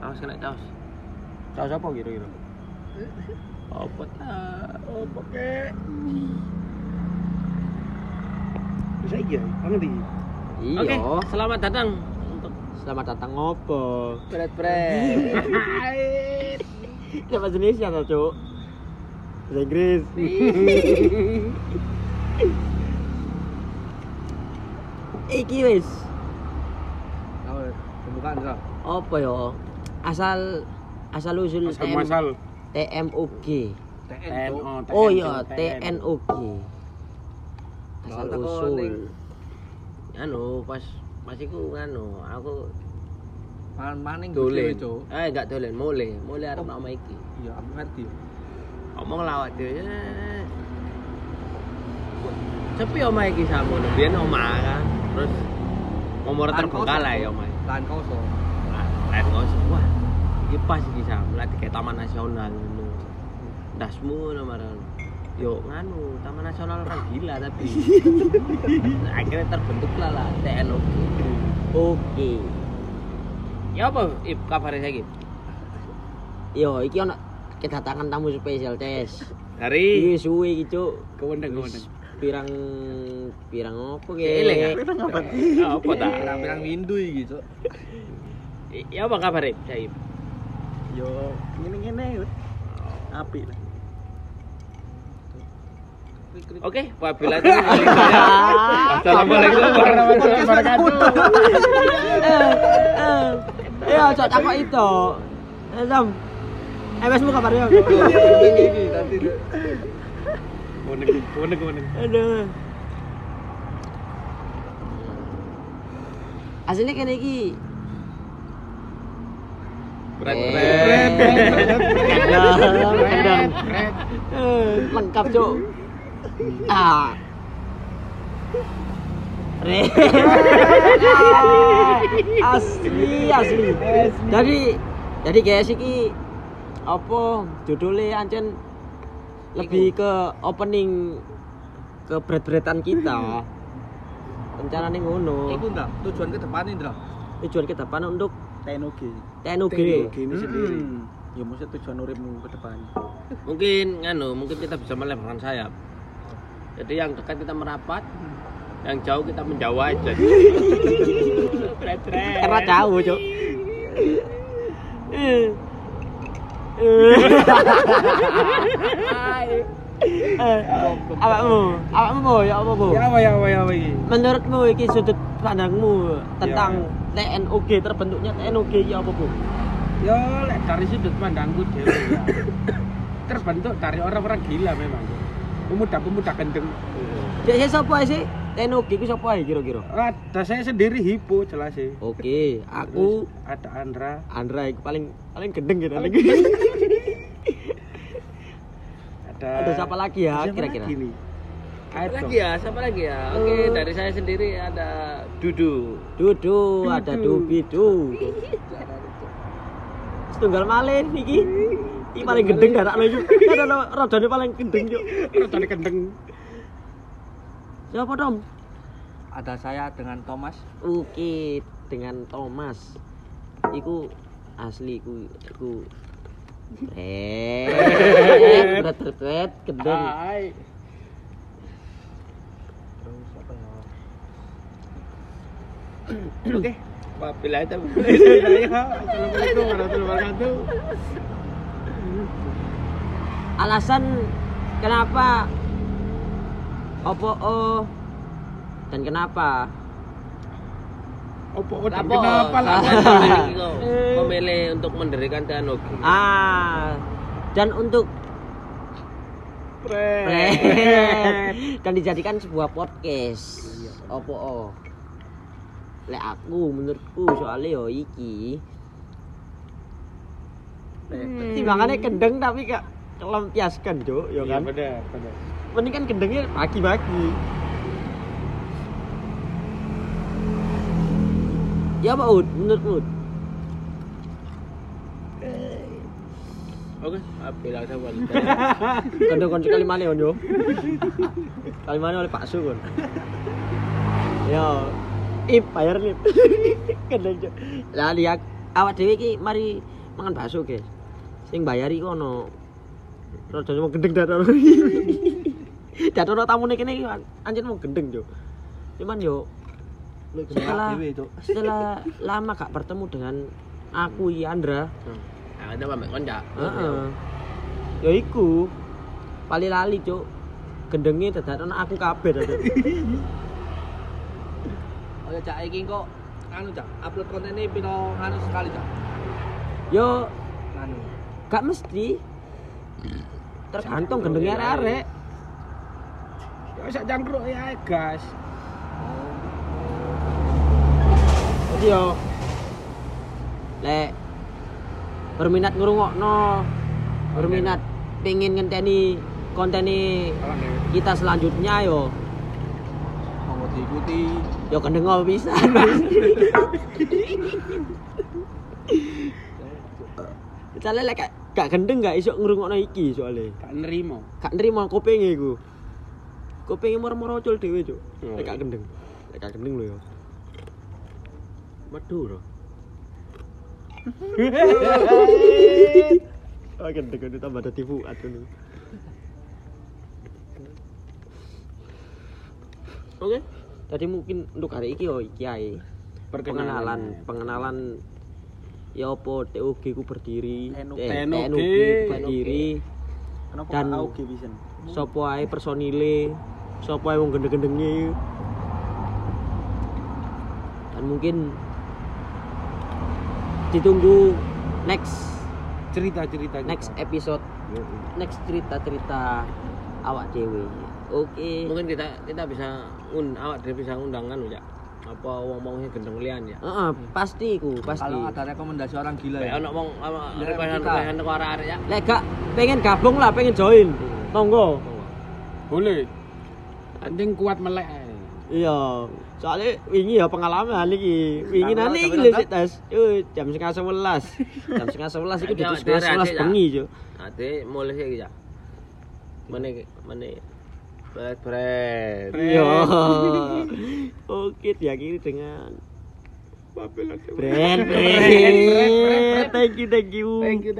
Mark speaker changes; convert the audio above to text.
Speaker 1: Caos kena caos. Caos apa kira-kira? Apa ta? Apa kek?
Speaker 2: Bisa iya, kangen iki.
Speaker 1: Iya.
Speaker 3: Oke, selamat datang untuk
Speaker 1: Selamat datang ngopo.
Speaker 3: Pret Pret.
Speaker 1: Ya bahasa Indonesia ta, Cuk? Bahasa Inggris. Iki wis
Speaker 2: Tahu pembukaan ra.
Speaker 1: apa ya? Asal asal usul TM TMUG.
Speaker 2: TN.
Speaker 1: Oh iya, TNUG. Asal
Speaker 2: Lah, teko ning-
Speaker 1: usul. Anu pas pas iku anu aku
Speaker 2: Maning
Speaker 1: dolen.
Speaker 2: dolen, Cuk.
Speaker 1: Eh enggak dolen, mule, mule arep nak omah iki.
Speaker 2: Iya, aku ngerti.
Speaker 1: omong lawak dhewe "Eh, sepi omah iki samono biyen omah kan terus nomor
Speaker 2: Lahan
Speaker 1: terbuka
Speaker 2: kosong,
Speaker 1: lah
Speaker 2: Cuk.
Speaker 1: ya omah
Speaker 2: Lahan kosong.
Speaker 1: lain kok wah iki pas iki sam lah kayak taman nasional ngono dasmu nomor yo nganu taman nasional orang gila tapi Nah, akhirnya terbentuk lah lah TNO oke ya apa ip kabar saya
Speaker 3: Yo, iki ono kedatangan tamu spesial, Tes.
Speaker 1: hari
Speaker 2: Iya.
Speaker 3: Iki suwe iki, Cuk.
Speaker 2: Kewendeng, kewendeng.
Speaker 3: Pirang pirang opo
Speaker 1: Ya, eleng,
Speaker 3: ge? Eh,
Speaker 1: aku nang apa sih? Ah, Apa ta?
Speaker 2: Pirang-pirang windu iki, Cuk.
Speaker 1: I- Ya apa kabar, Ip? Saib?
Speaker 2: Yo, ngene-ngene. Apik lah.
Speaker 1: Oke, wabillahi taufiq wal hidayah. Assalamualaikum warahmatullahi wabarakatuh.
Speaker 3: Yo, eh, cok takok itu. Eh, Sam. Eh, wesmu kabar yo.
Speaker 2: Iki nanti.
Speaker 1: Kuning, kuning, kuning.
Speaker 3: Aduh. Asline kene iki.
Speaker 1: Berat,
Speaker 3: Eh,
Speaker 1: berat.
Speaker 3: Kadang, kadang. Eh, Lengkap, Cuk. Ah. Re. Asli, asli. Jadi, jadi guys iki apa judulnya ancen lebih ke opening ke berat-beratan kita. Rencananya ngono.
Speaker 2: Iku ndak tujuan ke depan Indra.
Speaker 3: Tujuan kita depan untuk
Speaker 2: TNOG.
Speaker 3: TNUG.
Speaker 2: ini sendiri. Ya maksud tujuan uripmu ke depan.
Speaker 1: Mungkin nganu, mungkin kita bisa melebarkan sayap. Jadi yang dekat kita merapat, yang jauh kita menjauh aja. Berat, berat.
Speaker 3: Karena jauh, Cuk. Awakmu, awakmu Bu, ya apa Bu?
Speaker 2: apa ya apa ya apa iki?
Speaker 3: Menurutmu iki sudut pandangmu tentang TNUG terbentuknya TNUG iki apa Bu?
Speaker 2: Ya lek dari sudut pandangku dhewe ya. Terbentuk dari orang-orang gila memang. Pemuda-pemuda gendeng.
Speaker 3: Jadi saya sapa sih? TNUG iku sapa ae kira-kira?
Speaker 2: Ada saya sendiri hipo jelas sih.
Speaker 3: Oke, aku
Speaker 2: Ada Andra.
Speaker 3: Andra iku paling paling gendeng gitu.
Speaker 2: Ada
Speaker 3: Ada siapa lagi ya
Speaker 2: siapa
Speaker 3: kira-kira?
Speaker 2: lagi nih?
Speaker 1: Siapa lagi ya? Siapa lagi ya? Oke, dari saya sendiri ada Dudu.
Speaker 3: Dudu, ada Dubi Du. Setunggal malin iki. Iki paling gendeng darakno iki. Darakno rodane paling gendeng yo.
Speaker 2: Rodane gendeng.
Speaker 3: Siapa Tom?
Speaker 2: Ada saya dengan Thomas.
Speaker 3: Uki dengan Thomas. Iku asli iku iku eh berat berat, berat gendeng.
Speaker 2: Hai. Terus siapa ya?
Speaker 1: Oke, wabillahi taufiq.
Speaker 2: Assalamualaikum warahmatullahi wabarakatuh.
Speaker 3: Alasan kenapa opo oh dan kenapa
Speaker 2: Opo
Speaker 1: Lah,
Speaker 2: dan
Speaker 1: po,
Speaker 2: kenapa lah?
Speaker 1: sampean memilih kok, Memilih untuk mendirikan teknologi.
Speaker 3: ah dan untuk Pret. dan dijadikan sebuah podcast opo o lek aku menurutku soalnya yo iki Hmm. timbangannya kendeng tapi gak kelampiaskan cuk yo kan
Speaker 2: Iya benar, benar.
Speaker 3: mending kan kendengnya bagi-bagi ya Pak Ud menurut Ud
Speaker 1: Oke, ah, apabila ada wanita.
Speaker 3: kendeng kan sekali mana yo kali mana oleh Pak Su kan yo ip bayar nih kendeng cuk lah lihat awak dewi ki mari mangan bakso, guys. Sing bayari ku ono rada mau gendeng dadono. Dadono tamune kene iki an- anjen mau gendeng, Jo. Cuman yo setelah setelah lama gak bertemu dengan aku iki Andra,
Speaker 1: Nah, ada apa mbak kondak?
Speaker 3: Heeh. Ya iku. Pali lali, Cuk. Gendenge dadakan aku kabeh dadak.
Speaker 4: Oh ya cak iki kok anu cak upload kontennya piro anu sekali cak.
Speaker 3: Yo
Speaker 4: Anu.
Speaker 3: gak mesti. Tergantung gendenge arek-arek.
Speaker 2: Ya sak cangkruk ya gas.
Speaker 3: Jadi yo lek berminat ngrungokno, berminat pengen ngenteni konten
Speaker 2: Kalau nih
Speaker 3: kita selanjutnya yo
Speaker 4: Mau diikuti.
Speaker 3: yo gendeng bisa misalnya lek gak- gak gendeng gak iso ngrungokno iki soalnya
Speaker 2: gak nerimo.
Speaker 3: gak nerima kupinge iku kupinge moro-moro cul dhewe cuk lek gak gendeng lek gak gendeng lho yo
Speaker 1: Medu loh.
Speaker 3: oh gendeng itu tambah ada tipu aduh
Speaker 1: Oke.
Speaker 3: jadi mungkin untuk hari iki yo iki ae pengenalan pengenalan ya opo TOG ku berdiri
Speaker 4: TNUG.
Speaker 3: eh,
Speaker 2: TNUG.
Speaker 3: TNUG berdiri
Speaker 4: Kenapa
Speaker 3: Dan-
Speaker 4: Dan... AUG bisa?
Speaker 3: sopo ae personile sopo ae wong gendeng-gendenge dan mungkin ditunggu next
Speaker 2: Cerita-cerita kita.
Speaker 3: next episode next cerita-cerita awak dewe oke
Speaker 1: Mungkin kita kita bisa un awak dhewe bisa undangan ya. Apa wong-wongnya gendeng lian ya?
Speaker 3: Heeh, pasti ku pasti
Speaker 4: Kalau ada rekomendasi orang gila
Speaker 2: Eh.
Speaker 1: Kayak
Speaker 4: ya.
Speaker 1: ono wong ono
Speaker 4: Nah,
Speaker 1: rebahan-rebahan teko arek-arek ya.
Speaker 3: lek gak pengen gabung lah pengen join monggo
Speaker 2: Boleh. Anjing kuat melek. ae.
Speaker 3: iya soalnya wingi ya pengalaman iki wingi
Speaker 4: Tanggal-
Speaker 3: nane iki
Speaker 4: tanggal
Speaker 3: lho
Speaker 4: berapa?
Speaker 3: sik, tas Yo, jam 11.11 jam 11.11 iku
Speaker 1: Iya,
Speaker 3: duduk
Speaker 1: daerah sih,
Speaker 3: 11.11
Speaker 1: ya.
Speaker 3: bengi yo
Speaker 1: Ate mulai sik ya. Mene mene bret-bret.
Speaker 3: Yo. Oke, diakhiri dengan Brand, brand, thank you, thank you.
Speaker 2: Thank you.